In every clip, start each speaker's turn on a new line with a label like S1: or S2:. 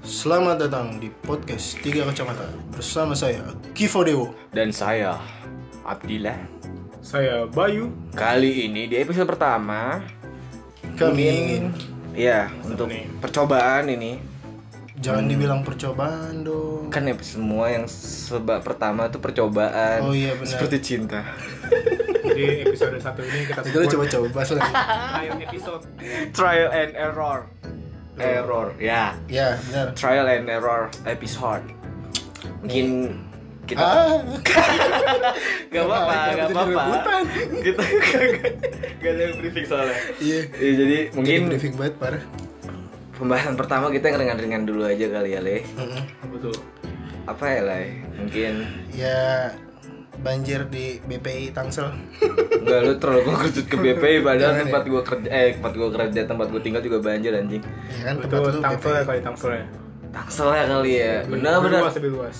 S1: Selamat datang di podcast Tiga Kacamata bersama saya Kifo Dewo.
S2: dan saya Abdillah.
S3: Saya Bayu.
S2: Kali ini di episode pertama,
S1: Kami
S2: Iya.
S1: ingin
S2: ya untuk percobaan ini
S1: jangan dibilang percobaan dong.
S2: kan ya semua yang sebab pertama itu percobaan.
S1: Oh iya, benar.
S2: Seperti cinta.
S3: Di episode satu ini kita
S1: Kita
S3: sebut
S1: coba-coba lagi.
S3: trial episode.
S2: Trial and error. Error. Ya.
S1: Ya benar.
S2: Trial and error episode. Mungkin kita
S1: Ah,
S2: nggak apa-apa,
S1: kenapa
S2: nggak
S1: Ah. jadi
S2: apa-apa.
S1: rebutan?
S2: Kita nggak ada yang briefing soalnya.
S1: iya.
S2: Ya, jadi
S1: Mungkin
S2: mungkin
S1: briefing banget parah.
S2: pembahasan pertama kita yang ringan-ringan dulu aja kali ya, Le.
S1: Mm-mm.
S3: Betul.
S1: Kan
S2: Apa ya, Le? Mungkin
S1: Ya banjir di BPI Tangsel.
S2: Enggak lu terlalu kerucut ke BPI padahal
S1: Jangan ya.
S2: tempat gua kerja eh tempat gua kerja tempat gua tinggal juga banjir anjing.
S1: Ya kan tempat gitu.
S3: Betul,
S1: lu
S3: tangsel ya
S1: BPI.
S3: kali tangsel ya.
S2: Tangsel ya kali ya. Benar
S3: Lebih
S2: benar.
S3: Luas lebih luas.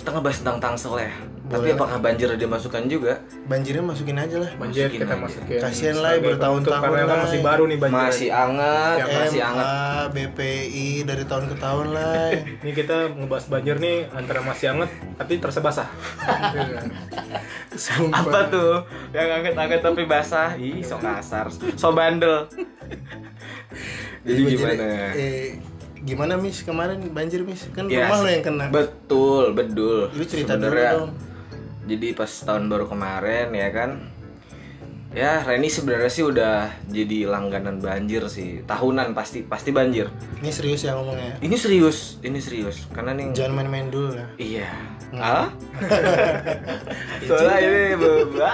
S2: Kita ngebahas tentang tangsel ya. Tapi
S1: Boleh.
S2: apakah banjir ada masukan juga?
S1: Banjirnya masukin aja lah.
S3: Banjir
S2: Masukin
S3: kita
S2: aja.
S3: masukin.
S1: Kasian lah,
S3: sebagai
S1: bertahun-tahun
S3: penutup Karena kan
S1: lah.
S3: masih baru nih banjir.
S2: Masih anget,
S3: Siap,
S2: masih
S1: MA,
S2: anget.
S1: BPI dari tahun ke tahun lah.
S3: Ini kita ngebahas banjir nih antara masih anget tapi Iya. terasa basah.
S1: Sumpah.
S2: Apa tuh? Yang anget-anget tapi basah. Ih, sok kasar, sok bandel. Jadi
S1: Banjir-
S2: gimana?
S1: Eh, gimana Miss kemarin banjir Miss? Kan
S2: Ya,
S1: rumah lo yang kena.
S2: Betul, bedul.
S1: Lu cerita dulu
S2: Sebenarnya,
S1: dong.
S2: Jadi pas tahun baru kemarin ya kan. Ya, Reni sebenarnya sih udah jadi langganan banjir sih. Tahunan pasti pasti banjir.
S1: Ini serius ya ngomongnya.
S2: Ini serius, ini serius. Karena nih
S1: Jangan main-main dulu lah.
S2: Iya.
S1: Hmm.
S2: Ah? Soalnya ini beban.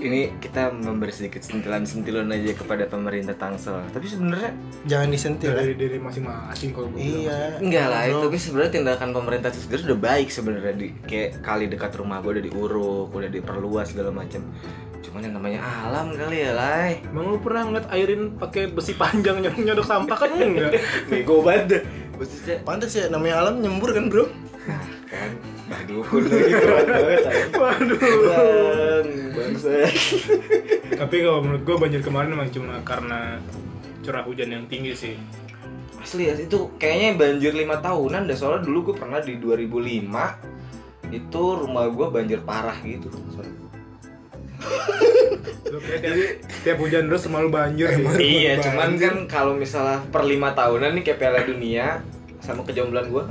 S2: ini kita memberi sedikit sentilan-sentilan aja kepada pemerintah Tangsel. Tapi sebenarnya
S1: Jangan disentil lah.
S3: Dari diri masing-masing kalau gue. bilang.
S1: Iya.
S2: Enggak lah, itu
S1: Bro,
S2: tapi sebenarnya tindakan pemerintah itu sendiri udah baik sebenarnya di kayak kali dekat rumah gue udah diuruk, udah diperluas segala macam. Cuman yang namanya alam kali ya, Lai.
S3: Emang lu pernah ngeliat airin pakai besi panjang nyodok nyodok sampah kan enggak?
S2: Nego banget. Maksudnya
S1: Pantes ya namanya alam nyembur kan, Bro?
S2: nah, kan aduh lagi kuat banget.
S1: Iya.
S2: Waduh. Bangsa.
S3: Tapi kalau menurut gue banjir kemarin emang cuma karena curah hujan yang tinggi sih.
S2: Asli ya, itu kayaknya banjir lima tahunan dah soalnya dulu gue pernah di 2005 itu rumah gue banjir parah gitu.
S3: Lu kayak tiap, tiap hujan terus selalu banjir sih.
S1: Banjir.
S2: iya cuman kan kalau misalnya per lima tahunan nih kayak Piala Dunia sama kejombloan gue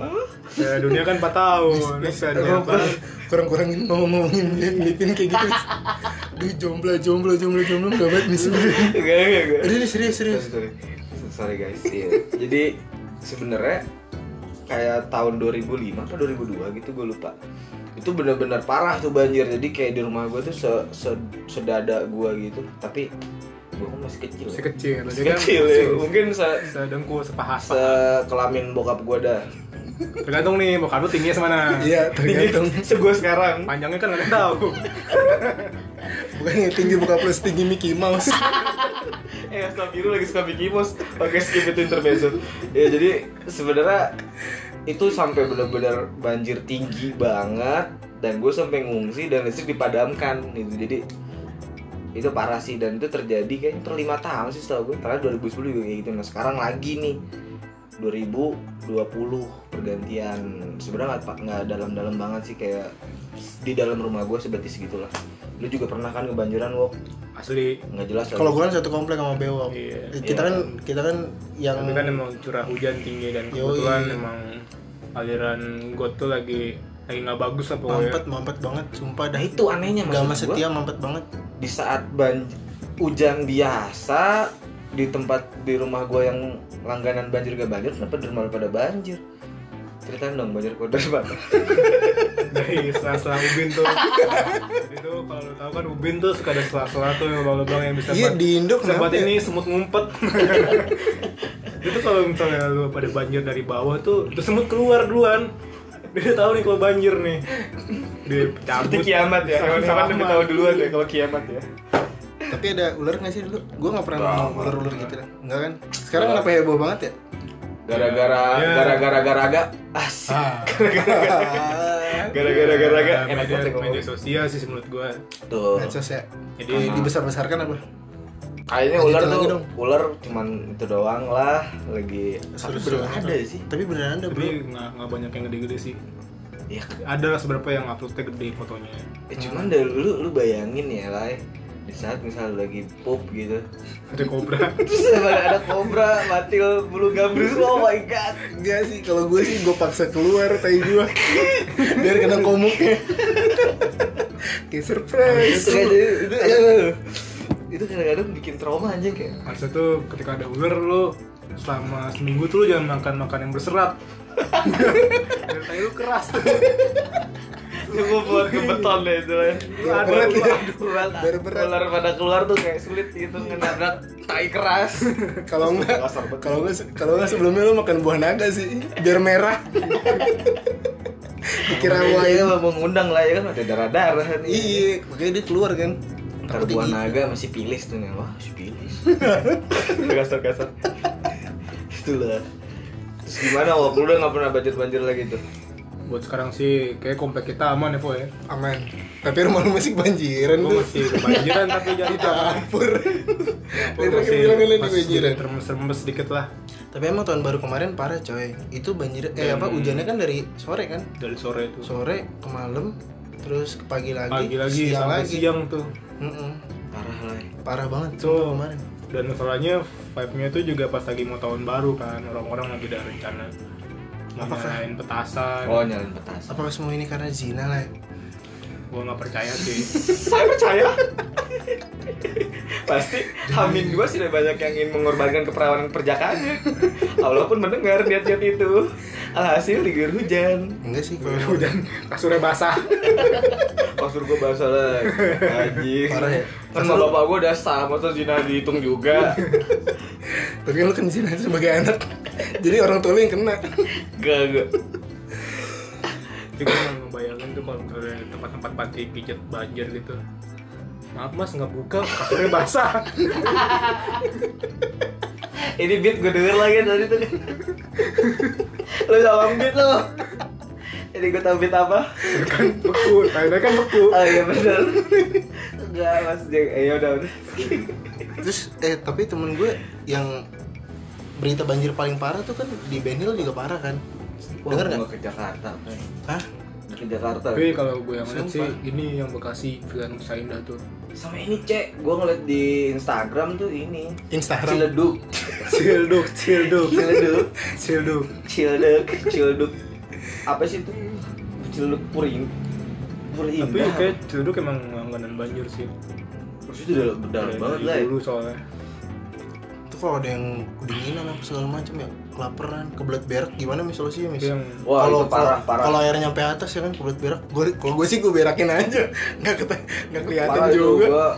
S3: Ya, dunia kan 4 tahun. Bisa dia
S1: Kurang-
S3: apa?
S1: Kurang-kurangin ngomong-ngomongin mitin kayak gitu. Duh, jomblo, jomblo, jomblo, jomblo enggak banget Miss. Udah,
S2: Enggak, enggak, enggak.
S1: udah, serius, serius.
S2: Sorry, sorry. Sorry, guys Iya. jadi sebenarnya kayak tahun 2005 atau 2002 gitu gue lupa itu benar-benar parah tuh banjir jadi kayak di rumah gue tuh se, se- sedada gue gitu tapi gue kan masih kecil ya.
S3: Masih kecil. Dia
S2: Masih
S3: kan
S2: kecil ya.
S3: masih
S2: mungkin se,
S3: Sedengkul, sepahas.
S2: se kelamin bokap gue dah
S3: Tergantung nih, bokap lu tingginya semana.
S1: Iya, tergantung.
S2: se gue sekarang
S3: Panjangnya kan nggak tahu.
S1: Bukan yang tinggi buka plus tinggi Mickey Mouse.
S2: eh Asta biru lagi suka Mickey Mouse oke skip itu intermezzo ya jadi sebenarnya itu sampai benar-benar banjir tinggi banget dan gue sampai ngungsi dan listrik dipadamkan gitu jadi itu parah sih dan itu terjadi kayaknya per lima tahun sih setahu gue karena 2010 juga kayak gitu nah sekarang lagi nih 2020 pergantian sebenarnya nggak pa- nggak dalam-dalam banget sih kayak di dalam rumah gue sebetis gitulah lu juga pernah kan kebanjiran wok
S3: Asli.
S2: nggak jelas lah.
S1: Kalau gue kan satu komplek sama Bewok.
S3: Iya.
S1: Eh, Kita
S2: Iya.
S1: kan kita kan yang
S3: Tapi kan emang curah hujan tinggi dan
S1: Yoi.
S3: kebetulan emang aliran got tuh lagi lagi nggak bagus apa ya.
S1: mampet mampet banget sumpah dah
S2: Nah itu anehnya maksud
S1: Gama
S2: gua,
S1: setia mampet banget
S2: di saat banjir hujan biasa di tempat di rumah gua yang langganan banjir gak banjir kenapa di rumah lu pada banjir ceritain dong banjir kau dari mana
S3: Dari sela-sela ubin tuh. itu kalau lu tahu kan ubin tuh suka ada sela-sela tuh lubang-lubang yang bisa
S1: Iya
S3: buat-
S1: di Indo kenapa
S3: Sempat
S1: ya?
S3: ini semut ngumpet. itu kalau misalnya lu pada banjir dari bawah tuh, itu semut keluar duluan. Dia udah tahu nih kalau banjir nih. Dia cabut.
S2: ya.
S3: Sama-sama.
S2: duluan ya kalau kiamat ya
S1: Tapi ada ular nggak sih dulu? Gue nggak pernah
S2: Nggak,
S1: nemu
S2: nggak.
S1: ular-ular gitu dah Enggak kan? Sekarang kenapa heboh banget ya?
S2: gara-gara
S3: Ya.
S2: gara-gara gara-gara asik
S3: Ah,
S2: gara-gara gara-gara enak
S3: Iya,
S2: ya
S3: media,
S2: banget ya ngomong.
S3: Iya, media sosial sih menurut gua.
S2: tuh
S1: Medsos ya
S3: Jadi
S1: Di- Dibesar-besarkan apa?
S2: Kayaknya
S1: Lanjutin
S2: ular
S1: lagi
S2: tuh,
S1: dong.
S2: ular cuman itu doang lah lagi tapi
S1: Serius
S2: belum
S1: doang
S2: ada
S1: apa?
S2: sih.
S1: Tapi beneran ada
S3: Tapi
S1: bro.
S3: nggak nggak banyak yang gede-gede sih.
S2: Ya,
S3: Ada lah seberapa yang uploadnya gede fotonya.
S2: eh, cuman dari dulu lu bayangin ya, Lai. Di saat misal lagi pop gitu.
S3: Ada kobra.
S2: Terus ada, ada kobra, matil, bulu gambus. Oh my god.
S1: Enggak sih, kalau gue sih gue paksa keluar tai gue biar kena komuknya. Kayak surprise.
S2: Itu kayak jadi- itu, aduh. itu kadang-kadang bikin trauma anjing kayak.
S3: Masa tuh ketika ada ular lo selama seminggu tuh lo jangan makan makan yang berserat. Biar tai lu keras tuh.
S2: Cuma buat ke beton deh itu lah.
S1: Berat
S2: Ular-
S1: ya.
S2: ular-
S1: Berat-berat.
S2: Ular pada keluar tuh kayak sulit gitu ngenabrak tai keras.
S1: Kalau enggak
S2: Kasar banget.
S1: kalau enggak kalau enggak sebelumnya lo makan buah naga sih biar merah. Dikira
S2: Makanya dia
S1: wayang.
S2: mah mengundang lah ya kan ada darah-darah kan.
S1: Iya, makanya dia keluar kan.
S2: Ntar buah naga masih pilis tuh nih. Wah, si pilis. Kasar-kasar. Itulah. Terus gimana waktu lu udah gak pernah banjir-banjir lagi tuh?
S3: Buat sekarang sih kayak komplek kita aman ya, Po ya.
S1: aman. Tapi rumah lu masih banjiran
S3: Gue
S1: tuh.
S3: masih kebanjiran tapi jadi
S1: Dapur.
S3: Gua
S1: Ini
S3: masih
S1: bilang ini di
S3: masih
S1: banjiran.
S3: termes-termes sedikit lah
S1: Tapi emang tahun baru kemarin parah coy. Itu banjir eh
S3: Iya,
S1: apa hujannya kan dari sore kan?
S3: dari sore itu.
S1: Sore ke malam, terus ke pagi lagi,
S3: Pagi lagi
S1: siang
S3: sampai
S1: lagi.
S3: siang tuh.
S1: Mm-mm.
S2: Parah lah. ya.
S1: Parah banget
S3: Tuh.
S1: tuh kemarin.
S3: Dan masalahnya vibe-nya tuh juga pas lagi mau tahun baru kan orang-orang lagi ada rencana mau
S1: Apakah?
S3: main petasan.
S2: Oh, nyalain petasan.
S1: Apakah semua ini karena zina lah?
S3: Gua nggak percaya sih.
S2: Saya percaya. Pasti Hamin dua sudah banyak yang ingin mengorbankan keperawanan perjakaannya. Allah pun mendengar niat-niat itu. Alhasil diguyur hujan.
S1: Enggak sih kalau
S3: Hujan kasurnya basah.
S2: Kasur gua basah Oh, lagi. Anjing.
S1: Parah ya?
S2: Kan sama bapak gua udah sama tuh zina dihitung juga.
S1: Tapi kan lu kan zina sebagai anak. Jadi orang tua lu yang kena.
S2: Gak gak.
S3: Tapi gue nggak ngebayangin tuh kalau misalnya tempat-tempat panti pijat banjir gitu. Maaf mas nggak buka, kasurnya basah.
S2: Ini beat gua denger lagi tadi tuh. Lo sama beat lo. Ini gua tau beat apa?
S3: kan beku, tadinya kan beku.
S2: Oh iya bener. Enggak mas. Jeng. Eh yaudah udah.
S1: Terus eh tapi temen gue yang berita banjir paling parah tuh kan di Ben Hill juga parah kan?
S2: Wah,
S1: Dengar nggak?
S2: gua ke Jakarta. Bray.
S1: Hah?
S2: ke Jakarta
S3: Tapi kalau gue yang lihat sih
S1: Sumpah.
S3: ini yang Bekasi Villa Nusa Indah tuh.
S2: sama ini cek gue ngeliat di Instagram tuh ini
S1: Instagram.
S2: Ciledug
S3: Cilduk, cilduk,
S2: Ciledug
S3: cilduk.
S2: Ciledug Ciledug apa sih itu Ciledug Puring Puring
S3: Tapi kayak Ciledug emang langganan banjir sih.
S2: maksudnya udah berdarah
S1: Iya,
S3: Dari-
S2: banget
S3: dari
S2: lah ya.
S3: Dulu soalnya.
S1: Itu kalau ada yang kedinginan apa segala macam ya kelaparan, kebelet berak gimana mis solusinya
S3: Tapi
S1: mis?
S3: yang
S2: wah
S1: kalau
S2: itu parah
S1: kalau-
S2: parah
S1: kalau air nyampe atas ya kan kulit berak gue kalau gue sih gue berakin aja nggak kata nggak kelihatan
S2: parah
S1: juga
S2: itu gua-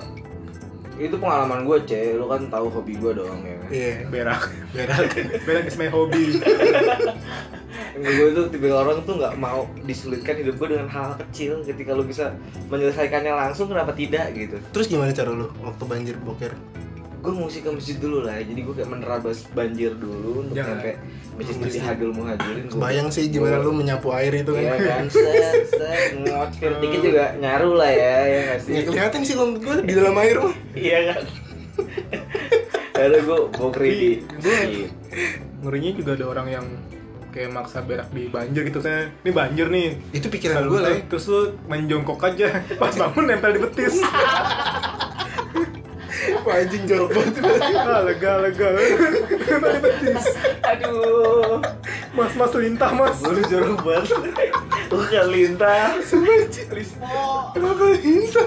S2: itu pengalaman gue cek lu kan tahu hobi gue doang ya kan?
S1: iya
S3: berak.
S1: berak
S3: berak is my hobby.
S2: gue tuh tipe orang tuh nggak mau disulitkan hidup gue dengan hal kecil ketika lu bisa menyelesaikannya langsung kenapa tidak gitu
S1: terus gimana cara lu waktu banjir boker
S2: gue ngusik ke masjid dulu lah ya. jadi gue kayak menerabas banjir dulu untuk
S3: Jangan. Hmm.
S2: sampai masjid itu dihadul muhajirin gua-
S1: kebayang sih gimana lu menyapu air itu
S2: Iya
S1: kan
S2: kan, set, set, ngocil dikit juga nyaru lah ya, ya nggak sih?
S1: nggak kelihatan sih kalau gue di dalam air mah
S2: Iya kan? Lalu gue bokri di Iya.
S3: Gua- Ngerinya juga ada orang yang kayak maksa berak di banjir gitu saya ini banjir nih
S1: itu pikiran
S2: Nah,
S3: Lalu
S1: gue lah
S3: lu- terus lu main jongkok aja pas bangun nempel di betis
S1: Wah, anjing jorok banget
S3: ah, lega lega nempel di betis
S2: Aduh,
S3: mas mas lintah mas
S2: gue udah jorok banget Gue gak lintah Rispo
S1: kenapa bisa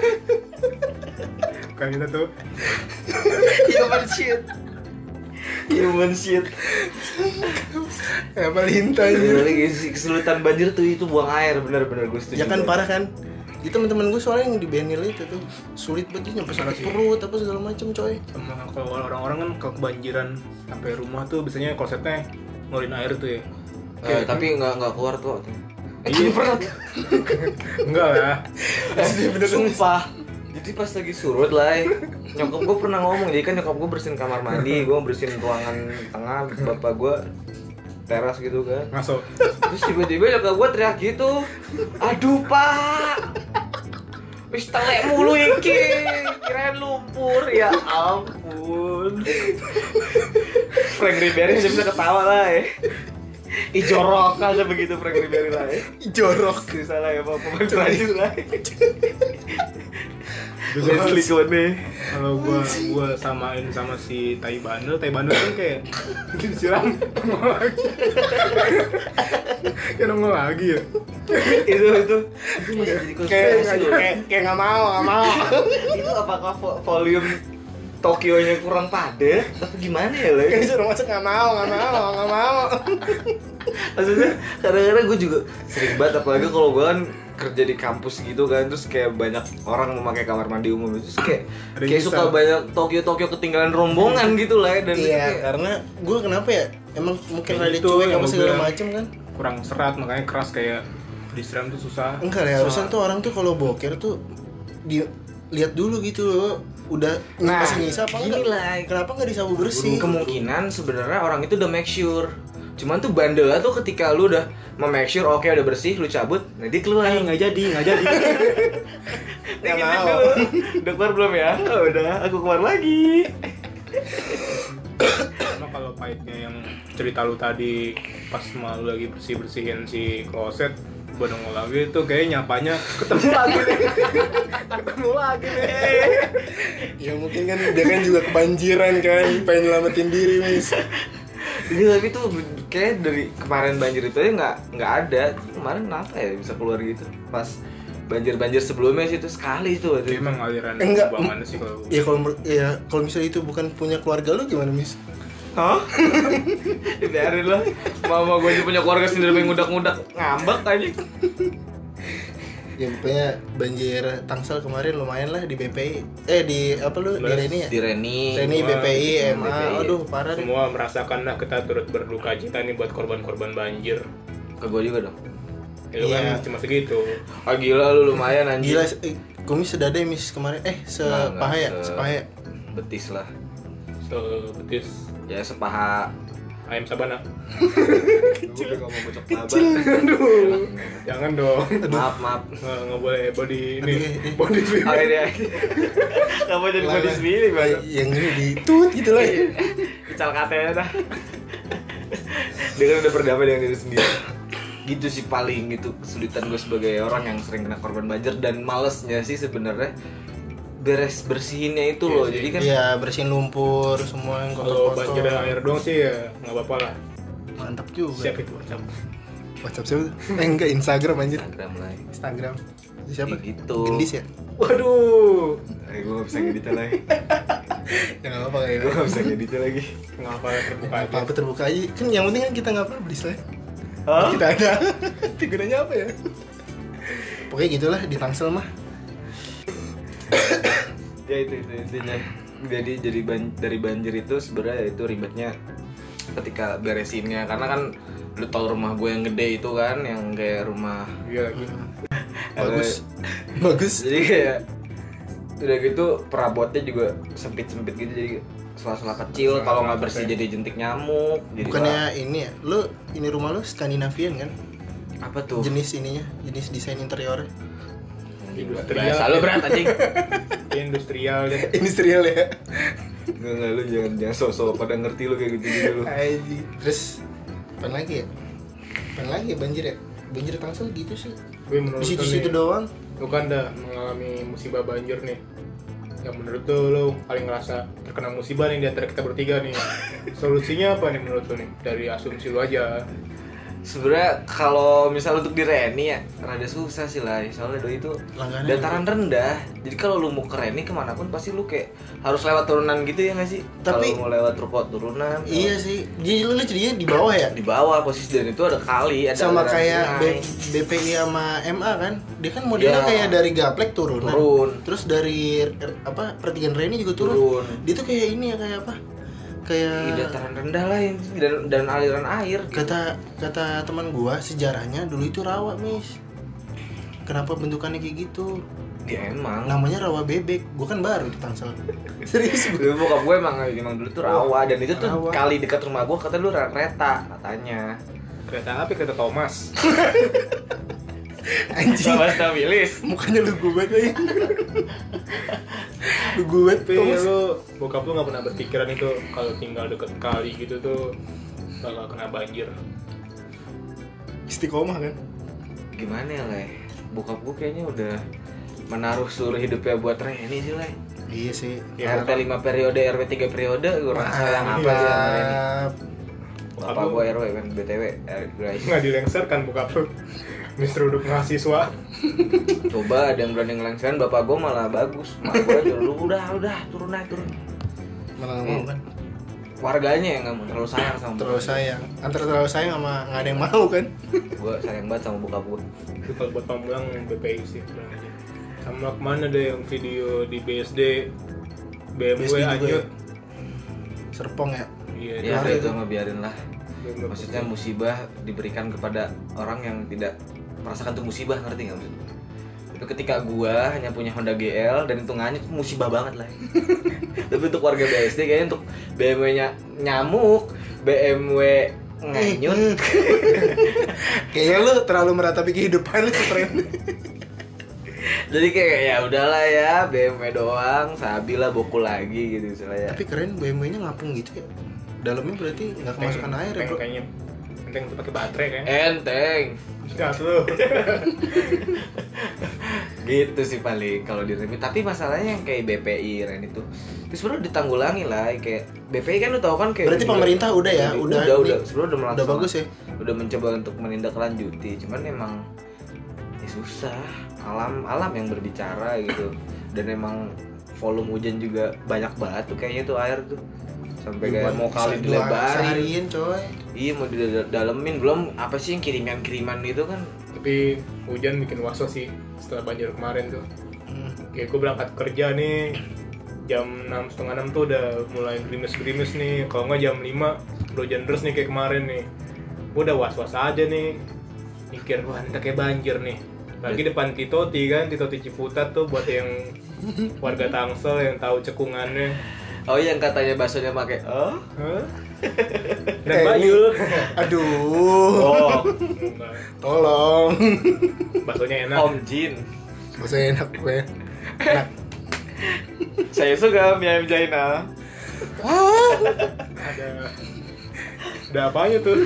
S3: kan kita tuh
S1: Iya,
S2: Human shit Human Iya, shit Eh,
S1: apa lintah
S2: Jadi
S1: ini
S2: lagi sih, kesulitan banjir tuh itu buang air bener-bener gue setuju
S1: ya kan parah kan itu teman-teman gue soalnya yang di Benil itu tuh sulit banget nyampe sakit perut apa segala macem coy
S3: sama kalau orang-orang kan kalau kebanjiran sampai rumah tuh biasanya klosetnya ngeluarin air tuh ya
S2: Eh, Tapi gak, nggak keluar tuh Eh,
S3: Iya. enggak ya, lah
S1: Asli, bener dong.
S2: Sumpah Jadi pas lagi surut lah Nyokap gue pernah ngomong Jadi kan nyokap gue bersihin kamar mandi Gue bersihin ruangan tengah Bapak gue teras gitu kan
S3: ngaso
S2: Terus tiba-tiba nyokap gue teriak gitu Aduh pak Wis telek mulu iki. Kirain lumpur ya ampun. Frank Ribery aja bisa ketawa lah ya. Ijorok aja begitu Frank Ribery lah ya.
S1: jorok
S2: Gak salah ya Pak pemain Brazil lah.
S3: Juga
S2: Leslie Kone.
S3: kalau gua gua samain sama si tai bandel tai bandel kan kayak disiram nongol lagi kayak nongol lagi ya
S2: Itu itu itu masih jadi
S1: kayak
S2: konspirasi loh.
S1: kayak kayak nggak mau nggak mau
S2: Itu apakah vo- volume Tokyo-nya kurang padat atau gimana ya Le?
S1: kayak disuruh masuk nggak mau nggak mau nggak mau
S2: maksudnya kadang-kadang gue juga sering banget apalagi kalau gue kan kerja di kampus gitu kan terus kayak banyak orang memakai kamar mandi umum terus kayak
S3: Ada yang
S2: kayak
S3: nyesel.
S2: suka banyak Tokyo Tokyo ketinggalan rombongan gitu lah ya, dan
S1: iya
S2: kayak-
S1: karena gue kenapa ya emang mungkin
S3: Kayak
S1: rada
S3: gitu
S1: cuek sama
S3: yang gua
S1: segala
S3: bilang.
S1: macem kan
S3: kurang serat makanya keras kayak disiram tuh susah
S1: enggak ya harusnya tuh orang tuh kalau boker tuh di lihat dulu gitu loh udah
S2: Nah,
S1: masih nyisa apa
S2: gini
S1: enggak
S2: lah.
S1: kenapa nggak disabu bersih
S2: kemungkinan sebenarnya orang itu udah make sure cuman tuh bandel tuh ketika lu udah memake sure oke udah bersih lu cabut nanti keluar
S3: Eh, nggak jadi nggak jadi
S1: Nggak
S2: Dikit
S1: mau.
S2: dulu. udah keluar belum ya Oh, udah aku keluar lagi
S3: Cuma kalau pahitnya yang cerita lu tadi pas malu lagi bersih bersihin si kloset gua nongol lagi itu kayak nyapanya ketemu lagi nih ketemu lagi nih
S1: ya mungkin kan dia kan juga kebanjiran kan pengen nyelamatin diri mis
S2: Ini tapi tuh kayak dari kemarin banjir itu aja nggak nggak ada. Kemarin kenapa ya bisa keluar gitu? Pas banjir-banjir sebelumnya sih itu sekali itu.
S3: Jadi emang aliran
S1: Enggak.
S3: banget sih kalau
S1: ya kalau mer- ya kalau misalnya itu bukan punya keluarga lu gimana mis
S2: Hah? Biarin lah. Mama gue aja punya keluarga sendiri main ngudak-ngudak ngambek aja.
S1: ya pokoknya banjir Tangsel kemarin lumayan lah di BPI eh di apa lu di
S3: Mas,
S1: Reni ya
S2: Di Reni.
S1: Reni
S3: Wah,
S1: BPI MA
S2: BPI.
S1: aduh parah deh
S3: semua merasakanlah kita turut berduka cita nih buat korban-korban banjir.
S2: Ke gue juga dong.
S3: Ya, lu
S1: Iya.
S3: kan cuma segitu.
S2: Ah gila lu lumayan anjir.
S1: gila eh, kumis sedada ya mis kemarin eh sepaha ya
S2: Enggak, se-
S1: sepaha ya
S2: Betis lah.
S3: Sebetis
S2: Ya sepaha.
S3: ayam sabana.
S2: Gue ngomong bocok
S3: Jangan dong.
S2: Maaf, maaf.
S3: Nggak, nggak boleh body ini.
S1: Aduh, eh, eh.
S3: Body swimming.
S2: Oke deh. Kenapa jadi body sendiri, Bang?
S1: Iya, yang ini di tut gitu lah
S2: Kecal katanya dah. Dia kan udah berdamai dengan diri sendiri. Gitu sih paling itu kesulitan gue sebagai orang yang sering kena korban banjir dan malesnya sih sebenarnya beres bersihinnya itu loh. Jadi kan
S1: Iya bersihin lumpur semua yang
S3: Kalau banjir dan
S1: kotor-kotor
S3: air doang sih ya nggak apa-apa lah.
S1: mantap juga
S3: Siap itu macam.
S1: WhatsApp siapa tuh? eh enggak Instagram anjir
S2: Instagram lah. ya.
S1: Instagram siapa
S2: Ya gitu.
S1: Gendis ya
S3: Waduh.
S2: Eh, gue gak bisa ngedit lagi.
S1: ya nggak apa-apa kayak
S2: gue gak bisa ngedit lagi.
S3: Ngapa terbuka aja?
S1: apa-apa terbuka aja kan yang penting kan kita nggak publish lah
S2: Hah?
S1: kita ada gunanya apa ya pokoknya gitulah di Tangsel mah
S2: ya itu itu intinya jadi jadi ban- dari banjir itu sebenarnya itu ribetnya ketika beresinnya karena kan lu tau rumah gue yang gede itu kan yang kayak rumah
S3: Iya lagi.
S2: Eh,
S1: bagus bagus
S2: jadi kayak udah gitu perabotnya juga sempit sempit gitu jadi sela-sela kecil kalau nggak bersih jadi jentik nyamuk jadi wah,
S1: bukannya ini ya lu ini rumah lu Skandinavian kan
S2: apa tuh
S1: jenis ininya jenis desain interiornya
S3: Industrial.
S2: bahasa lu berat anjing
S3: Dia industrial dia.
S1: industrial ya
S2: nggak nggak lu jangan jangan sosok pada ngerti lu kayak gitu gitu lu
S1: Aji. terus apa lagi ya apa lagi ya banjir ya banjir Tangsel gitu sih
S3: Gue menurut
S1: di
S3: lu
S1: situ
S3: nih,
S1: situ doang
S3: Lu kan udah mengalami musibah banjir nih. Yang menurut lu, lu paling ngerasa terkena musibah nih di antara kita bertiga nih. Solusinya apa nih menurut lu nih? Dari asumsi lu aja.
S2: sebenarnya kalau misal untuk di Reni ya rada susah sih lah soalnya doi itu
S1: Langganan
S2: dataran rendah jadi kalau lu mau ke Reni kemanapun pasti lu kayak harus lewat turunan gitu ya nggak sih
S1: Tapi-
S2: kalau mau lewat ruko turunan
S1: iya sih jadi lu lu jadinya di bawah ya
S2: kalau di bawah posisi dan itu ada kali ada
S1: sama
S2: aliran
S1: kayak
S2: sungai.
S1: B- BPI sama MA kan dia kan modelnya
S2: Iya.
S1: kayak dari gaplek turunan
S2: Turun.
S1: terus dari er, apa pertigaan Reni juga turun. Iya.
S2: Turun.
S1: dia tuh kayak ini ya kayak apa kayak
S2: di dataran rendah lah yang dan, dan aliran air
S1: kata kata teman gua sejarahnya dulu itu rawa mis kenapa bentukannya kayak gitu
S2: ya emang
S1: namanya rawa bebek gua kan baru di Tangsel serius gua
S2: Dulu bokap gue emang, emang dulu tuh rawa dan itu tuh
S1: Rawa.
S2: kali dekat rumah gue kata lu rel kereta katanya
S3: Kereta api, kereta Thomas.
S1: Anjing.
S2: sama stabilis
S1: Mukanya ya. lu gubet lagi. lu gubet
S3: tapi
S2: Iya.
S1: Thomas.
S3: lu bokap lu nggak pernah berpikiran itu kalau tinggal deket kali gitu tuh bakal kena banjir
S1: Istiqomah kan.
S2: gimana ya leh bokap gue kayaknya udah menaruh seluruh hidupnya buat Reni sih leh
S1: Iya sih.
S2: RT 5 periode RW 3 periode gue rasa yang apa
S1: Iya.
S2: sih sama Reni
S3: Bokap
S2: Bapak
S3: lu-
S2: gue RW kan BTW eh, guys
S3: nggak dilengser kan bokap lu Mister udah mahasiswa
S2: coba ada yang berani ngelengserin bapak gue malah bagus mak gue aja lu udah udah turun aja turun
S1: Malah nggak mau kan.
S2: Iya. warganya yang nggak mau terlalu sayang sama
S1: Terlalu sayang. Antara terlalu sayang sama nggak ada yang mau kan.
S2: gue sayang banget sama bokap gue
S3: itu kalau buat pamulang yang BPI sih kurang aja. sama kemana ada yang video di BSD BMW
S1: BSD juga
S3: anjut
S1: ya? Serpong ya.
S3: iya
S2: ya
S1: Kemarin
S2: itu
S1: tuh.
S2: mah biarin lah
S3: BMW.
S2: maksudnya musibah diberikan kepada orang yang tidak merasakan tuh musibah ngerti nggak maksudnya itu ketika gua hanya punya Honda GL dan hitungannya tuh musibah banget lah tapi untuk warga BSD kayaknya untuk BMW nya nyamuk BMW nganyut
S1: Kayaknya lu terlalu meratapi kehidupan lu keren.
S2: jadi kayak ya udahlah ya BMW doang sabi lah boku lagi gitu misalnya
S1: Tapi keren BMW-nya ngapung gitu ya. Dalamnya berarti nggak
S3: Enteng-
S1: kemasukan air ya,
S3: enteng
S1: Bro. Eh.
S3: kayaknya enteng tuh pakai baterai kayaknya
S2: enteng
S3: Gas lu.
S2: gitu sih paling kalau di remit tapi masalahnya yang kayak BPI Ren itu terus sebenarnya ditanggulangi lah kayak BPI kan lu tau kan kayak
S1: Berarti pemerintah udah ya,
S2: udah
S1: udah
S2: udah,
S1: ini-
S2: udah sebenarnya udah
S1: Udah
S2: melaksanakan.
S1: bagus ya.
S2: udah mencoba untuk menindaklanjuti cuman emang ya susah alam alam yang berbicara gitu dan emang volume hujan juga banyak banget tuh kayaknya tuh air tuh sampai kayak mau kali
S1: Bisa
S2: dilebarin
S1: seharian, coy.
S2: iya mau didalemin belum apa sih yang kiriman kiriman itu kan
S3: tapi hujan bikin waso sih setelah banjir kemarin tuh
S1: Hmm.
S3: kayak gue Ya, berangkat kerja nih jam enam setengah enam tuh udah mulai gerimis gerimis nih kalau nggak jam 5 udah hujan deras nih kayak kemarin nih gue udah was was aja nih mikir wah nanti kayak banjir nih lagi
S2: Iya.
S3: depan Titoti kan Titoti Ciputat tuh buat yang warga Tangsel yang tahu cekungannya
S2: oh yang katanya baksonya pakai oh
S3: Hah? dan
S1: Eh, ini-
S3: Bayul
S1: Aduh,
S2: oh
S3: Enggak.
S1: tolong.
S3: baksonya enak
S2: Om Jin
S1: Masa enak gue. Enak.
S2: Saya suka mie ayam Jaina.
S3: ada ada apanya tuh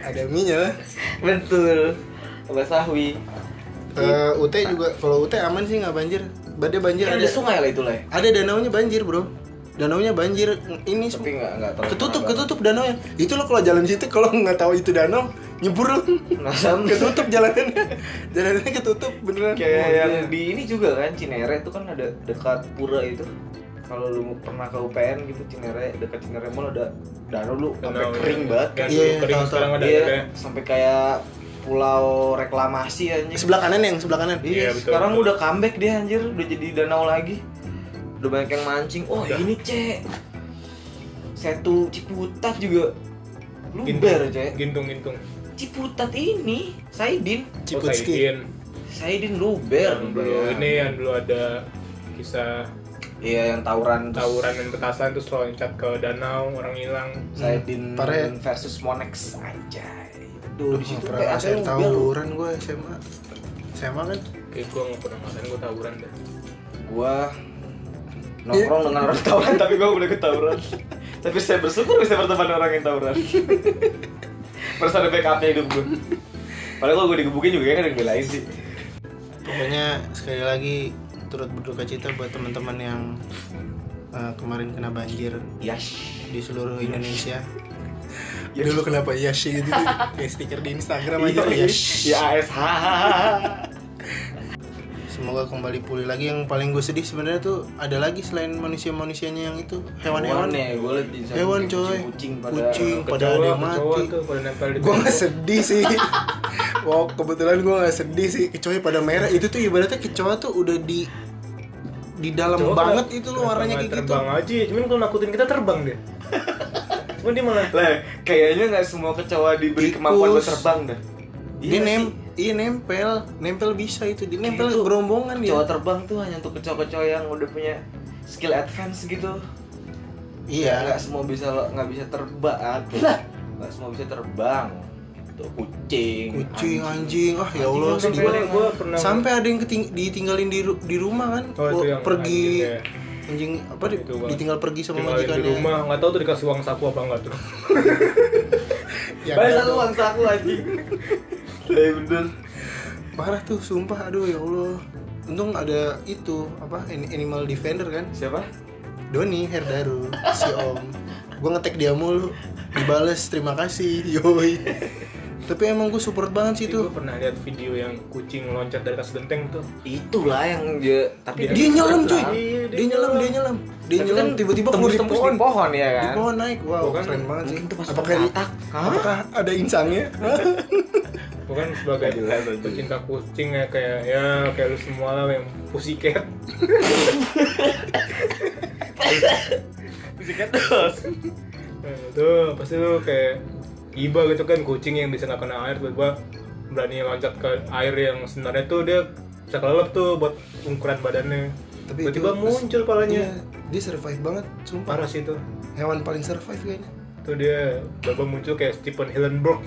S1: Ada minyak.
S2: Betul. Sama sahwi.
S1: Eh UT juga kalau UT aman sih nggak banjir. Badai banjir
S2: Kan
S1: Iya, ada.
S2: ada sungai lah itu lah. ya.
S1: Ada danaunya banjir, Bro. Danaunya banjir ini
S2: Tapi nggak nggak terlalu.
S1: ketutup ketutup danaunya. Itu lo kalau jalan situ kalau nggak tahu itu danau nyebur lo.
S2: Nasam
S1: ketutup jalanannya. Jalanannya ketutup beneran.
S2: kayak
S1: Wah,
S2: yang
S1: iya.
S2: di ini juga kan Cinere itu kan ada dekat pura itu. Kalau lu pernah ke UPN gitu Cinere dekat Cinere Mall ada danau lu sampai
S3: Danau,
S2: kering
S3: ya.
S2: banget kan.
S3: Dan
S1: Iya,
S3: dulu kering
S1: tahu,
S3: sekarang ada
S2: Iya,
S3: ada-
S2: sampai kayak pulau reklamasi anjing.
S1: sebelah kanan yang sebelah kanan.
S2: Iya,
S3: Iya, betul,
S2: sekarang
S3: betul.
S2: udah comeback dia anjir, udah jadi danau lagi. Udah banyak yang mancing. Oh,
S3: Udah.
S2: ini, Cek. Setu Ciputat juga luber, Cek.
S3: gintung gintung
S2: Ciputat ini Saidin,
S1: Ciputski. Iya,
S2: Saidin
S3: yang
S2: luber.
S3: dulu
S2: Bayangin.
S3: Iya, ini yang dulu ada kisah
S2: Iya, yang tawuran terus
S3: tawuran dan petasan terus loncat ke danau orang hilang
S2: Saidin
S1: Hmm, Pare.
S2: versus Monex anjay. Itu di situ
S1: Pernah
S2: kayak ada
S1: saya
S2: yang
S1: tahu
S2: luber.
S1: buruan gue SMA. SMA kan
S3: kayak gue nggak pernah ngerasain gue tawuran deh
S2: Gua nongkrong dengan orang tawuran tapi gua boleh ikut tawuran. tapi saya bersyukur bisa berteman dengan orang yang tawuran. Terus ada backupnya hidup gua. Padahal kalau gua digebukin juga kan ada yang belain sih.
S1: Pokoknya sekali lagi turut berduka cita buat teman-teman yang eh, kemarin kena banjir
S2: Yes.
S1: di seluruh Indonesia. Dulu kenapa ya sih gitu kayak stiker di Instagram aja tuh,
S2: Iya,
S1: ya.
S2: Ya ASH.
S1: Semoga kembali pulih lagi yang paling gue sedih sebenarnya tuh ada lagi selain manusia-manusianya yang itu hewan-hewan.
S2: ya, gua liat di sana
S1: Hewan,
S2: kucing-
S1: coy.
S2: Kucing pada
S1: Kucing pada ada yang
S3: kecoa
S1: mati.
S3: tuh pada nempel di
S1: Gue
S3: pintu.
S1: nggak sedih sih. Wow, kebetulan gue nggak sedih sih. Kecoa pada merah itu tuh ibaratnya kecoa tuh udah di di dalam
S3: Kecoa
S1: banget
S3: kenapa-
S1: itu loh
S3: kenapa
S1: warnanya
S3: nggak
S1: kayak gitu.
S3: terbang aja cuman kalau nakutin kita terbang deh cuman dia malah
S2: Lah, kayaknya nggak semua kecoa diberi
S1: Tikus.
S2: kemampuan buat terbang dah.
S1: Dia
S2: Iya
S1: nem
S2: sih.
S1: iya nempel, nempel bisa itu, dia nempel
S3: Iya.
S1: gerombongan dia.
S2: Kecoa Gitu. terbang tuh hanya untuk kecoa-kecoa yang udah punya skill advance gitu.
S1: Iya.
S2: nggak semua bisa nggak bisa terbang lah nggak semua bisa terbang gitu kucing
S1: kucing anjing ah ya Allah
S3: Sampai
S1: sedih
S3: ada
S1: banget
S3: yang gua pernah
S1: sampai ada yang keting- ditinggalin di, ru- di rumah kan
S3: Oh, itu yang
S1: pergi
S3: anjing, ya.
S1: anjing apa di-
S3: Itu, Bang.
S1: ditinggal pergi sama
S3: Tinggalin di
S1: majikannya
S3: rumah nggak tahu tuh dikasih uang saku apa enggak tuh
S1: Ya,
S2: Balik satu bangsa aku anjing Iya bener
S1: parah tuh sumpah aduh ya Allah untung ada itu apa an- animal defender kan
S2: Siapa?
S1: Doni Herdaru si Om gue ngetek dia mulu dibales terima kasih yoi tapi emang gue support banget sih
S3: itu
S1: tuh
S3: pernah lihat video yang kucing loncat dari atas genteng tuh
S2: Itulah yang dia Tapi
S1: dia nyelam cuy
S3: Iya, dia
S1: dia nyelam dia nyelam dia
S2: Tapi
S1: nyelam
S2: kan
S1: tiba-tiba keluar
S2: tembus
S1: di
S2: tembus di
S1: pohon
S2: pohon ya
S1: di
S2: kan
S1: pohon naik wow
S3: Tuh kan,
S1: keren banget sih
S2: mungkin itu pas
S1: apakah
S2: kotak. Hah?
S1: apakah ada insangnya
S3: bukan
S2: Gak
S3: sebagai
S2: jelas, anjing.
S3: pecinta kucing ya kayak ya kayak lu semua lah yang pussycat pussycat terus tuh gitu, pasti lu kayak iba gitu kan kucing yang bisa nggak kena air tiba-tiba berani loncat ke air yang sebenarnya tuh dia bisa kelelep tuh buat ukuran badannya
S1: Tapi
S3: tiba-tiba
S1: itu-
S3: muncul
S1: Iya,
S3: palanya
S1: dia survive banget sumpah
S3: parah sih itu
S1: hewan paling survive kayaknya
S3: tuh dia tiba muncul kayak Stephen Hillenburg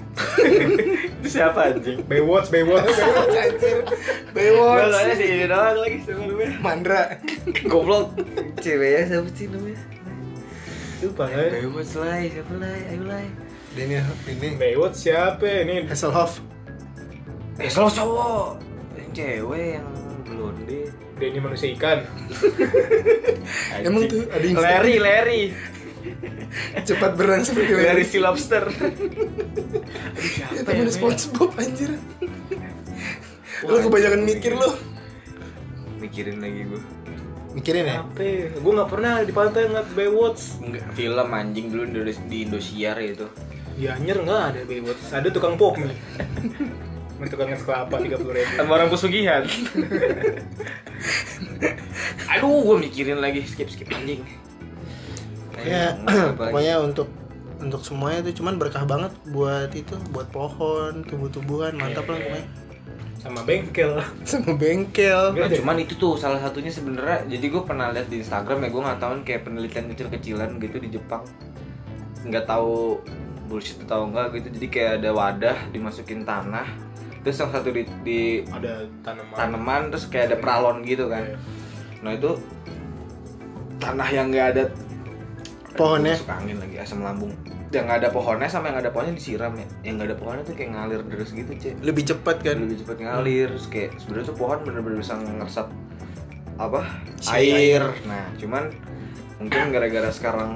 S2: Itu siapa anjing?
S3: Baywatch Baywatch
S1: Anjir,
S2: Gue
S1: Baywatch,
S2: tanya si ini doang lagi siapa namanya
S1: Mandra.
S2: Goblok Ceweknya siapa sih namanya?
S3: itu parah
S2: Baywatch lah, siapa lah, ayo lah
S1: Daniel ini
S3: Baywatch siapa ya? ini
S1: Hasselhoff.
S2: Eh kalau cowok Yang cewek yang blonde
S3: dia ini manusia ikan
S1: Emang tuh ada yang
S2: gitu. Larry, Larry
S1: cepat berenang seperti Larry.
S2: Larry si lobster
S1: Ya,
S2: Siapa
S1: tapi
S2: ya,
S1: ada SpongeBob anjir. Lu kebanyakan mikir lu.
S2: Mikirin lagi gue
S1: Mikirin ya?
S3: apa gue nggak pernah di pantai ngeliat Baywatch
S2: Enggak, film anjing dulu di, Indos- di Indosiar ya itu
S3: ya anjir nggak ada Baywatch ada tukang pop nih Sama tukang es kelapa tiga puluh ribu
S2: orang pesugihan Aduh, gue mikirin lagi, skip-skip anjing
S1: Ya,
S2: Eh, apa lagi?
S1: pokoknya untuk untuk semuanya tuh cuman berkah banget buat itu, buat pohon, tumbuh-tumbuhan, mantap lah pokoknya.
S3: sama bengkel
S1: Sama bengkel.
S2: Nah, cuman itu tuh salah satunya sebenarnya jadi gue pernah lihat di Instagram ya gue nggak tahu kayak penelitian kecil-kecilan gitu di Jepang nggak tahu bullshit atau enggak gitu jadi kayak ada wadah dimasukin tanah terus yang satu di, di
S3: ada tanaman
S2: tanaman terus kayak ada pralon gitu kan
S3: Iya.
S2: nah itu tanah yang nggak ada
S1: Pohonnya.
S2: Masuk angin lagi asam lambung yang nggak ada pohonnya sama yang ada pohonnya disiram ya yang nggak ada pohonnya tuh kayak ngalir terus gitu cek
S1: Lebih cepat kan?
S2: lebih cepat ngalir terus kayak sebenarnya tuh pohon bener-bener bisa ngeresap apa
S1: Si
S2: air.
S1: air.
S2: nah cuman mungkin gara-gara sekarang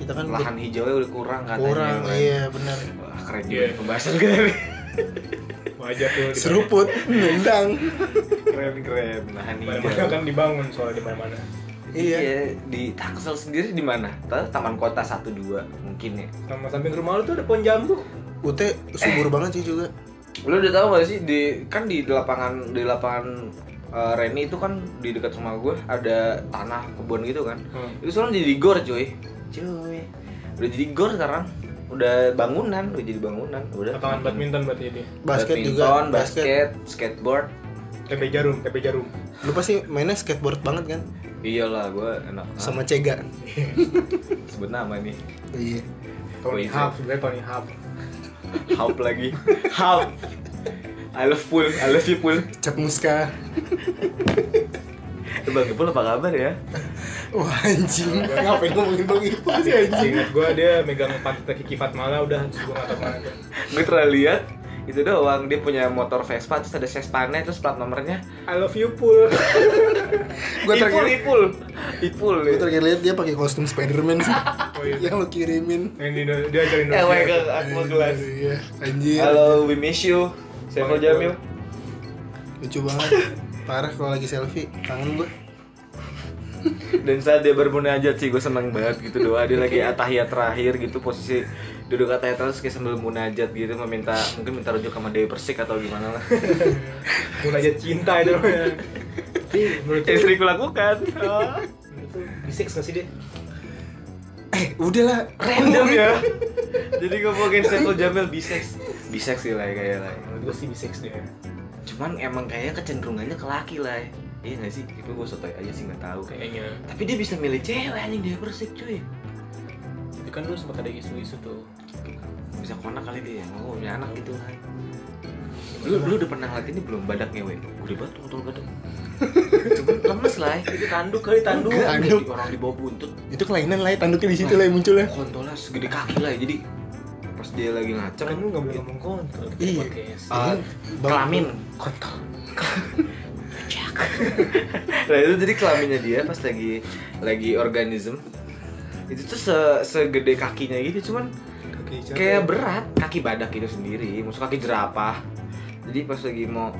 S1: Kita kan
S2: lahan hijaunya udah kurang katanya
S1: kurang,
S2: kan.
S1: iya benar.
S2: wah keren juga
S3: Iya.
S2: nih pembahasan kita nih
S3: wajah tuh di-
S1: Seruput, nendang.
S2: keren keren lahan
S3: mana-mana kan dibangun soalnya di mana-mana
S1: Iya.
S2: Iya, di Tangsel sendiri di mana? Ta- Taman Kota 1 2 mungkin ya.
S3: sama samping rumah lu tuh ada pohon jambu
S1: Ute subur banget sih juga.
S2: Lu udah tahu gak sih di kan di lapangan di lapangan eh, Reni itu kan di dekat rumah gue ada tanah kebun gitu kan.
S3: Hmm.
S2: Itu sekarang jadi gor, cuy. Cuy. Udah jadi gor sekarang. Udah bangunan, udah jadi bangunan, udah.
S3: lapangan badminton berarti ini
S1: Basket juga,
S2: Badminton,
S1: basket.
S2: basket, skateboard.
S3: TB jarum TB jarum
S1: Lu pasti mainnya skateboard banget kan?
S2: Iyalah, gue Iya enak.
S1: Sama Cega.
S2: sebut nama nih.
S1: Iya.
S3: Tony
S2: Wih,
S3: Hawk sebenarnya Tony Hawk
S2: Haup lagi. Haup. I love pool, I love you pool.
S1: Cap Muska.
S2: Eh, Bang Ipul apa kabar ya?
S1: Wah anjing. Ngapain ngomongin Bang Ipa sih anjing?
S3: Ingat gue dia megang pantat Kiki Fatmala udah terus gue nggak tahu mana tuh.
S2: Gue pernah lihat itu doang dia punya motor Vespa terus ada Vespa-nya terus plat nomornya
S3: I love you pool
S1: Gue
S2: Ipul
S1: terakhir
S2: Ipul Ipul ya.
S1: gue terakhir lihat dia pakai kostum Spiderman sih.
S3: Oh, iya.
S1: Yang lu kirimin.
S3: yang di dia ajarin
S2: Eh,
S3: Indonesia.
S2: wake up, aku mau gelas.
S1: Iya. Anjir.
S2: Halo, we miss you. Saiful Jamil.
S1: Lucu banget. Parah kalau lagi selfie tangan gue.
S2: Dan saat dia bermunajat sih, gue seneng banget gitu doa dia lagi atahiyat terakhir gitu posisi duduk atahiyat terus kayak sambil munajat gitu meminta mungkin minta rujuk sama Dewi Persik atau gimana lah.
S3: mulai aja cinta itu namanya. Tapi menurut lu-
S2: Istri lakukan.
S3: menurut lu bisik nggak sih dia?
S1: Eh udahlah.
S2: Random ya. Jadi ngomongin Saiful Jamil bisex. Bisex sih lah kayak lah.
S3: Menurut gue sih bisik dia.
S2: Cuman emang kayaknya kecenderungannya ke laki lah. ya. Iya nggak sih? Itu gue sotoy aja sih nggak tahu.
S3: Kayaknya.
S2: Tapi dia bisa milih cewek anjing dia persik cuy.
S3: Tapi kan lu sempat ada isu-isu tuh.
S2: bisa konak kali dia nggak mau punya anak gitu kan lu lu udah pernah ngeliat ini belum badak ngewe gede banget tuh kotor badak cuma lemes lah
S4: Itu tanduk kali tanduk.
S1: Enggak. Tanduk.
S2: Tanduk. orang di bawah buntut
S1: itu kelainan lah ya, tanduknya di situ lah yang munculnya
S2: kontolnya segede kaki lah ya. jadi pas dia lagi ngaceng
S4: Kan lu nggak boleh ngomong kontol.
S1: Iya.
S4: Podcast.
S2: Ah,
S1: Bang-
S2: kelamin
S1: kontol
S2: nah itu jadi kelaminnya dia pas lagi lagi organism itu tuh se- segede kakinya gitu cuman
S3: Kaki hijau.
S2: kayak berat kaki badak itu sendiri maksud kaki jerapah jadi pas lagi mau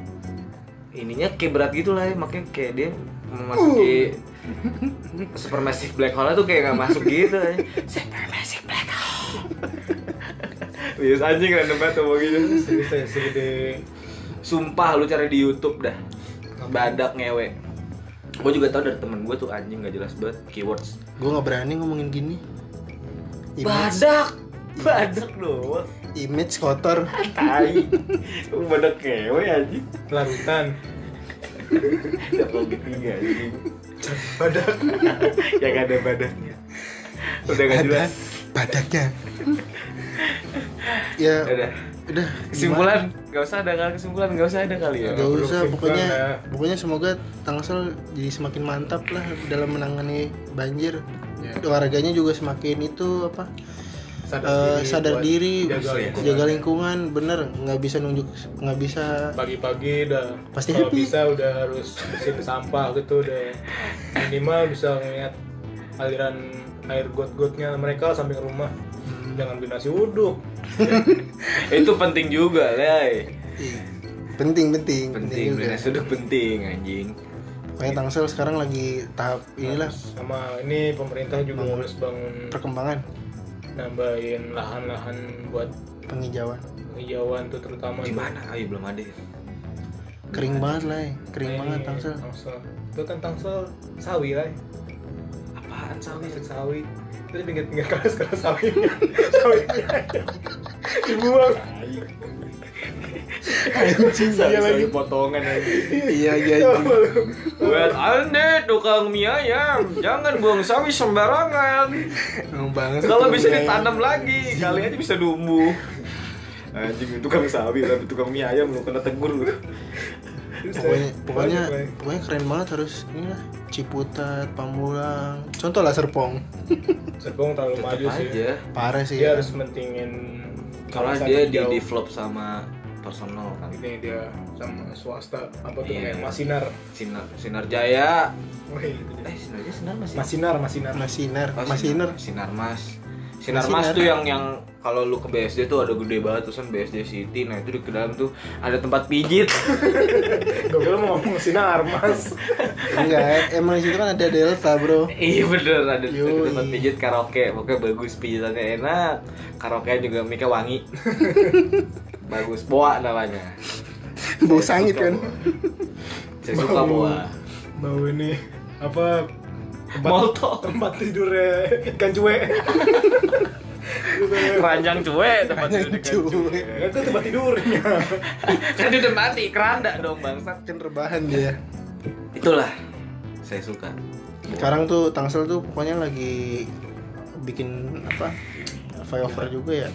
S2: ininya kayak berat gitu lah ya makanya kayak dia memasuki supermassive black hole tuh kayak nggak masuk gitu aja. supermassive black hole Bias anjing random banget ngomong gitu
S3: Segede- segede
S2: Sumpah lu cari di Youtube dah Badak ngewe Gue juga tau dari temen gue tuh anjing gak jelas banget keywords
S1: gue nggak berani ngomongin gini image
S2: Badak Badak doang
S1: image kotor
S2: Tai Badak ngewe anjing
S3: larutan.
S2: Double ketiga gitu anjing
S3: Badak.
S2: Yang ada badannya Udah gak jelas
S1: badaknya ya
S2: Udah
S1: udah gimana?
S2: Kesimpulan Gak usah ada kali kesimpulan Gak usah ada kali ya
S1: Gak
S3: perlu
S1: usah,
S3: kesimpulan
S1: pokoknya
S3: lah.
S1: pokoknya semoga Tangsel jadi semakin mantap lah dalam menangani banjir.
S3: Ya.
S1: Warganya juga semakin itu apa eh,
S3: diri
S1: sadar
S3: buat
S1: diri,
S3: jaga lingkungan.
S1: jaga lingkungan, bener nggak bisa nunjuk nggak bisa
S3: Pagi-pagi udah
S1: Pasti
S3: kalau
S1: happy.
S3: bisa udah harus bersihin sampah gitu udah minimal bisa ngeliat aliran air got-gotnya mereka samping rumah.
S1: Hmm.
S3: Jangan beli nasi uduk.
S2: Itu penting juga Lay
S1: Iya. penting penting
S2: Penting
S1: juga.
S2: Benar sudah penting anjing
S1: Pokoknya Tangsel sekarang lagi tahap inilah
S3: Sama ini pemerintah juga
S1: Bangun.
S3: harus bangun
S1: perkembangan
S3: nambahin lahan-lahan buat
S1: penghijauan.
S3: hijauan tuh terutama di-
S2: Gimana? Ayo belum ada ya
S1: Kering banget lah, ya. kering
S3: Ini,
S1: banget Tangsel.
S3: Tangsel. Itu kan Tangsel sawi lah.
S2: Apaan
S3: Sawi sawi. Itu di pinggir-pinggir kelas kelas sawi. sawi. Dibuang.
S1: Anjing iya lagi.
S2: potongan aja
S1: Iya iya.
S3: Coba
S1: anjing.
S3: lu.
S2: Buat anda tukang mie ayam Jangan buang sawi sembarangan
S1: Emang banget.
S2: Kalau bisa
S1: Iya.
S2: ditanam lagi Kali aja bisa tumbuh Anjing tukang sawi tapi tukang mie ayam lu kena tegur lu
S3: Terus
S1: pokoknya
S3: saya-
S1: pokoknya
S3: lanjut, Bay.
S1: pokoknya keren banget harus inilah Ciputat, Pamulang, contoh lah Serpong,
S3: Serpong terlalu maju sih.
S1: parah
S3: Dia
S1: sih. ya.
S3: Iya, harus mentingin
S2: Kalau
S3: kawasan
S2: dia di
S3: hijau.
S2: develop sama personal kan
S3: ini dia sama swasta apa tuh
S2: Iya.
S3: kayak Masinar.
S2: Sinar, Sinar Jaya
S3: Wah, itu dia.
S2: Eh Sinar Jaya Sinar masih
S3: Masinar, Masinar.
S1: Nah. Masinar,
S2: Oh,
S1: Masinar,
S2: Sinar Mas. Sinar
S1: Masinar.
S2: Mas tuh yang yang kalau lu ke BSD tuh ada gede banget tuh BSD City. Nah, itu di ke dalam tuh ada tempat pijit.
S3: Gue kira mau ngomong Sinar, Mas.
S1: enggak, emang di situ kan ada Delta bro.
S2: iya bener ada, ada
S1: Yoi.
S2: tempat pijit karaoke. Pokoknya bagus pijitannya enak. Karaoke juga mic wangi. bagus boa namanya.
S3: Iya,
S1: Bau
S2: Saya
S1: sangit
S2: suka
S1: kan.
S2: boa. Saya suka
S3: Bau.
S2: boa.
S3: Bau ini apa tempat,
S2: Molto.
S3: tempat tidurnya ikan cuek.
S2: Keranjang cuek tempat kan tidur di kancung.
S1: Cuy,
S3: Iya, Ya, itu tempat tidurnya.
S2: Kan dia udah mati keranda dong bangsat.
S1: kan rebahan dia.
S2: Itulah saya suka.
S1: Sekarang tuh Tangsel tuh pokoknya lagi bikin apa? Flyover juga ya.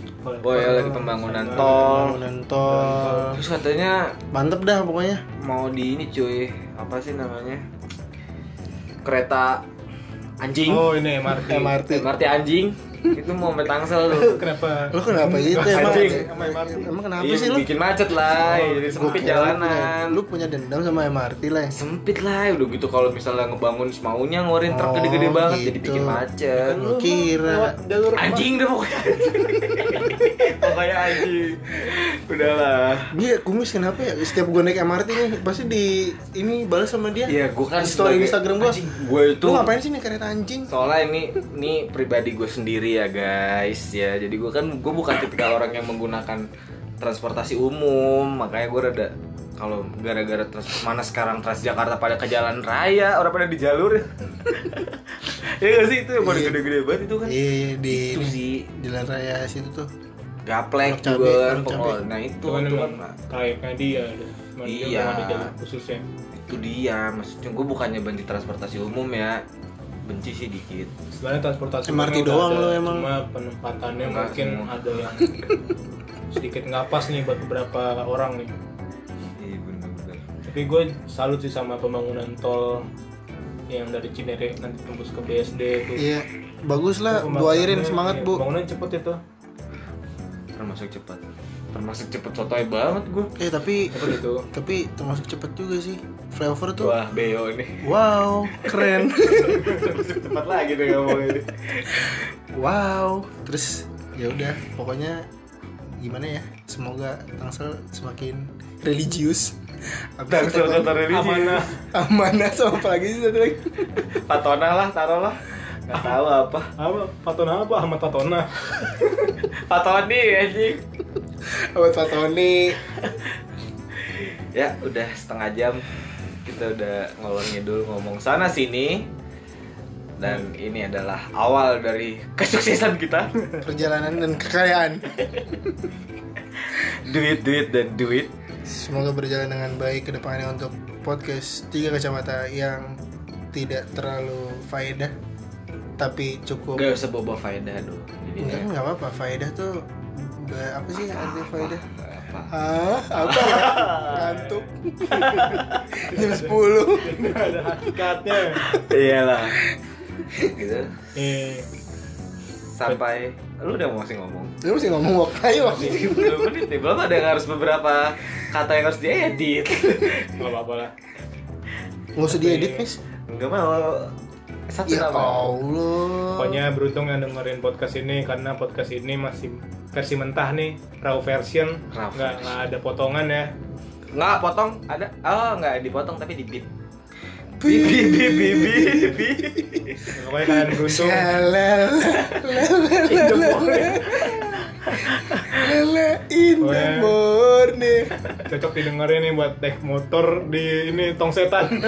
S2: Boy lagi pembangunan tol.
S1: Pembangunan tol.
S2: Terus katanya
S1: Mantep dah pokoknya.
S2: mau di ini cuy apa sih namanya kereta anjing
S3: Oh, ini MRT.
S1: MRT.
S2: MRT anjing itu mau sampai tangsel tuh
S3: Kenapa?
S1: Lu kenapa gitu emang?
S2: Anjing.
S3: Sama Iya, MRT.
S1: Emang kenapa
S2: Iya,
S1: sih lu?
S2: bikin macet lah jadi
S1: Gua
S2: sempit
S1: kira lu punya-
S2: jalanan
S1: Lu punya dendam sama MRT lah. ya?
S2: sempit lah udah gitu kalau misalnya ngebangun semaunya ngeluarin truk
S1: Oh,
S2: gede-gede banget jadi
S1: gitu.
S2: bikin macet
S1: Kan lu kira.
S3: lewat jalur
S2: anjing deh pokoknya pokoknya anjing udahlah
S1: Dia kumis kenapa ya? Setiap gue naik MRT nih pasti di ini balas sama dia.
S2: Iya, gua kan
S1: Di story
S2: sebagai-
S1: Instagram gua.
S2: Anjing, gua itu
S1: Lu ngapain sih naik kereta anjing?
S2: soalnya ini ini pribadi gue sendiri ya guys ya jadi gue kan gue bukan tipikal orang yang menggunakan transportasi umum makanya gue rada kalau gara-gara trans mana sekarang Transjakarta pada ke jalan raya orang pada di jalur ya gak sih itu yang pada
S1: Iya.
S2: gede-gede banget itu kan
S1: Iya, iya, di
S2: itu sih
S1: jalan raya situ tuh.
S2: gaplek
S1: Anak cabe,
S2: juga kan
S1: anak cabe.
S2: pokoknya nah itu
S3: Cuman
S2: itu kan
S3: emang trayeknya dia ada. Cuman dia
S2: Iya. nah,
S3: belum ada jalur khususnya.
S2: itu dia maksudnya gue bukannya benci transportasi umum ya benci sih dikit
S3: sebenarnya transportasi
S1: MRT
S3: umumnya udah
S1: doang
S3: ada,
S1: lo emang.
S3: cuma penempatannya
S2: Enggak
S3: mungkin
S2: semua.
S3: ada yang sedikit nggak pas nih buat beberapa orang nih
S2: iya bener-bener
S3: tapi gue salut sih sama pembangunan tol yang dari Cinere nanti tembus ke BSD itu
S1: Iya, bagus lah. Bu Airin semangat bu.
S3: Bangunan iya. cepet itu.
S2: termasuk cepat termasuk cepet sotoy banget gue
S1: Eh tapi
S3: Cepet itu.
S1: tapi termasuk cepet juga sih. Flyover tuh.
S2: wah beo ini
S1: Wow, keren.
S2: termasuk cepat lagi deh ngomong ini
S1: wow. Terus ya udah, pokoknya gimana ya? Semoga Tangsel semakin religius. Abis
S2: dan
S1: itu
S2: soto
S1: kan
S2: religi
S3: Amanah.
S1: amanah sama apa lagi sih satu lagi?
S2: patona lah taruh lah nggak tahu apa
S3: Apa? Patona apa? Ahmad Patona.
S2: patoni anjing
S1: Abad Pak Tony.
S2: ya udah setengah jam kita udah ngolor ngidul ngomong sana sini dan ini adalah awal dari kesuksesan kita
S1: Perjalanan dan kekayaan.
S2: duit duit dan duit
S1: Semoga berjalan dengan baik ke depannya untuk podcast tiga kacamata yang tidak terlalu faedah tapi cukup
S2: gak usah bawa faedah dong
S1: Enggak
S2: jadinya
S1: nggak apa-apa. Faedah tuh ba- apa sih arti faedah?
S2: apa
S1: Ah, apa? ya? Ngantuk. Jam 10.
S3: Nggak ada hakikatnya.
S2: iyalah gitu
S3: Eh,
S2: sampai lu udah mau sih ngomong
S1: Lu mesti ngomong wok ayo. Wak.
S2: belum menit nih belum ada yang harus beberapa kata yang harus diedit
S3: nggak apa-apa lah.
S1: Nggak usah diedit, Mis.
S2: nggak mau satu
S1: Ya
S2: nama
S1: Allah.
S3: Pokoknya beruntung yang dengerin podcast ini karena podcast ini masih versi mentah nih, raw version.
S2: Raw
S3: Nggak nggak ada potongan ya.
S2: nggak potong ada oh nggak dipotong tapi di beat Bibi, bibi, bibi,
S3: Pokoknya kalian beruntung.
S1: Lele, lele, lele, in the
S3: Pokoknya-
S1: morning.
S3: Cocok didengerin nih buat naik motor di ini tong setan.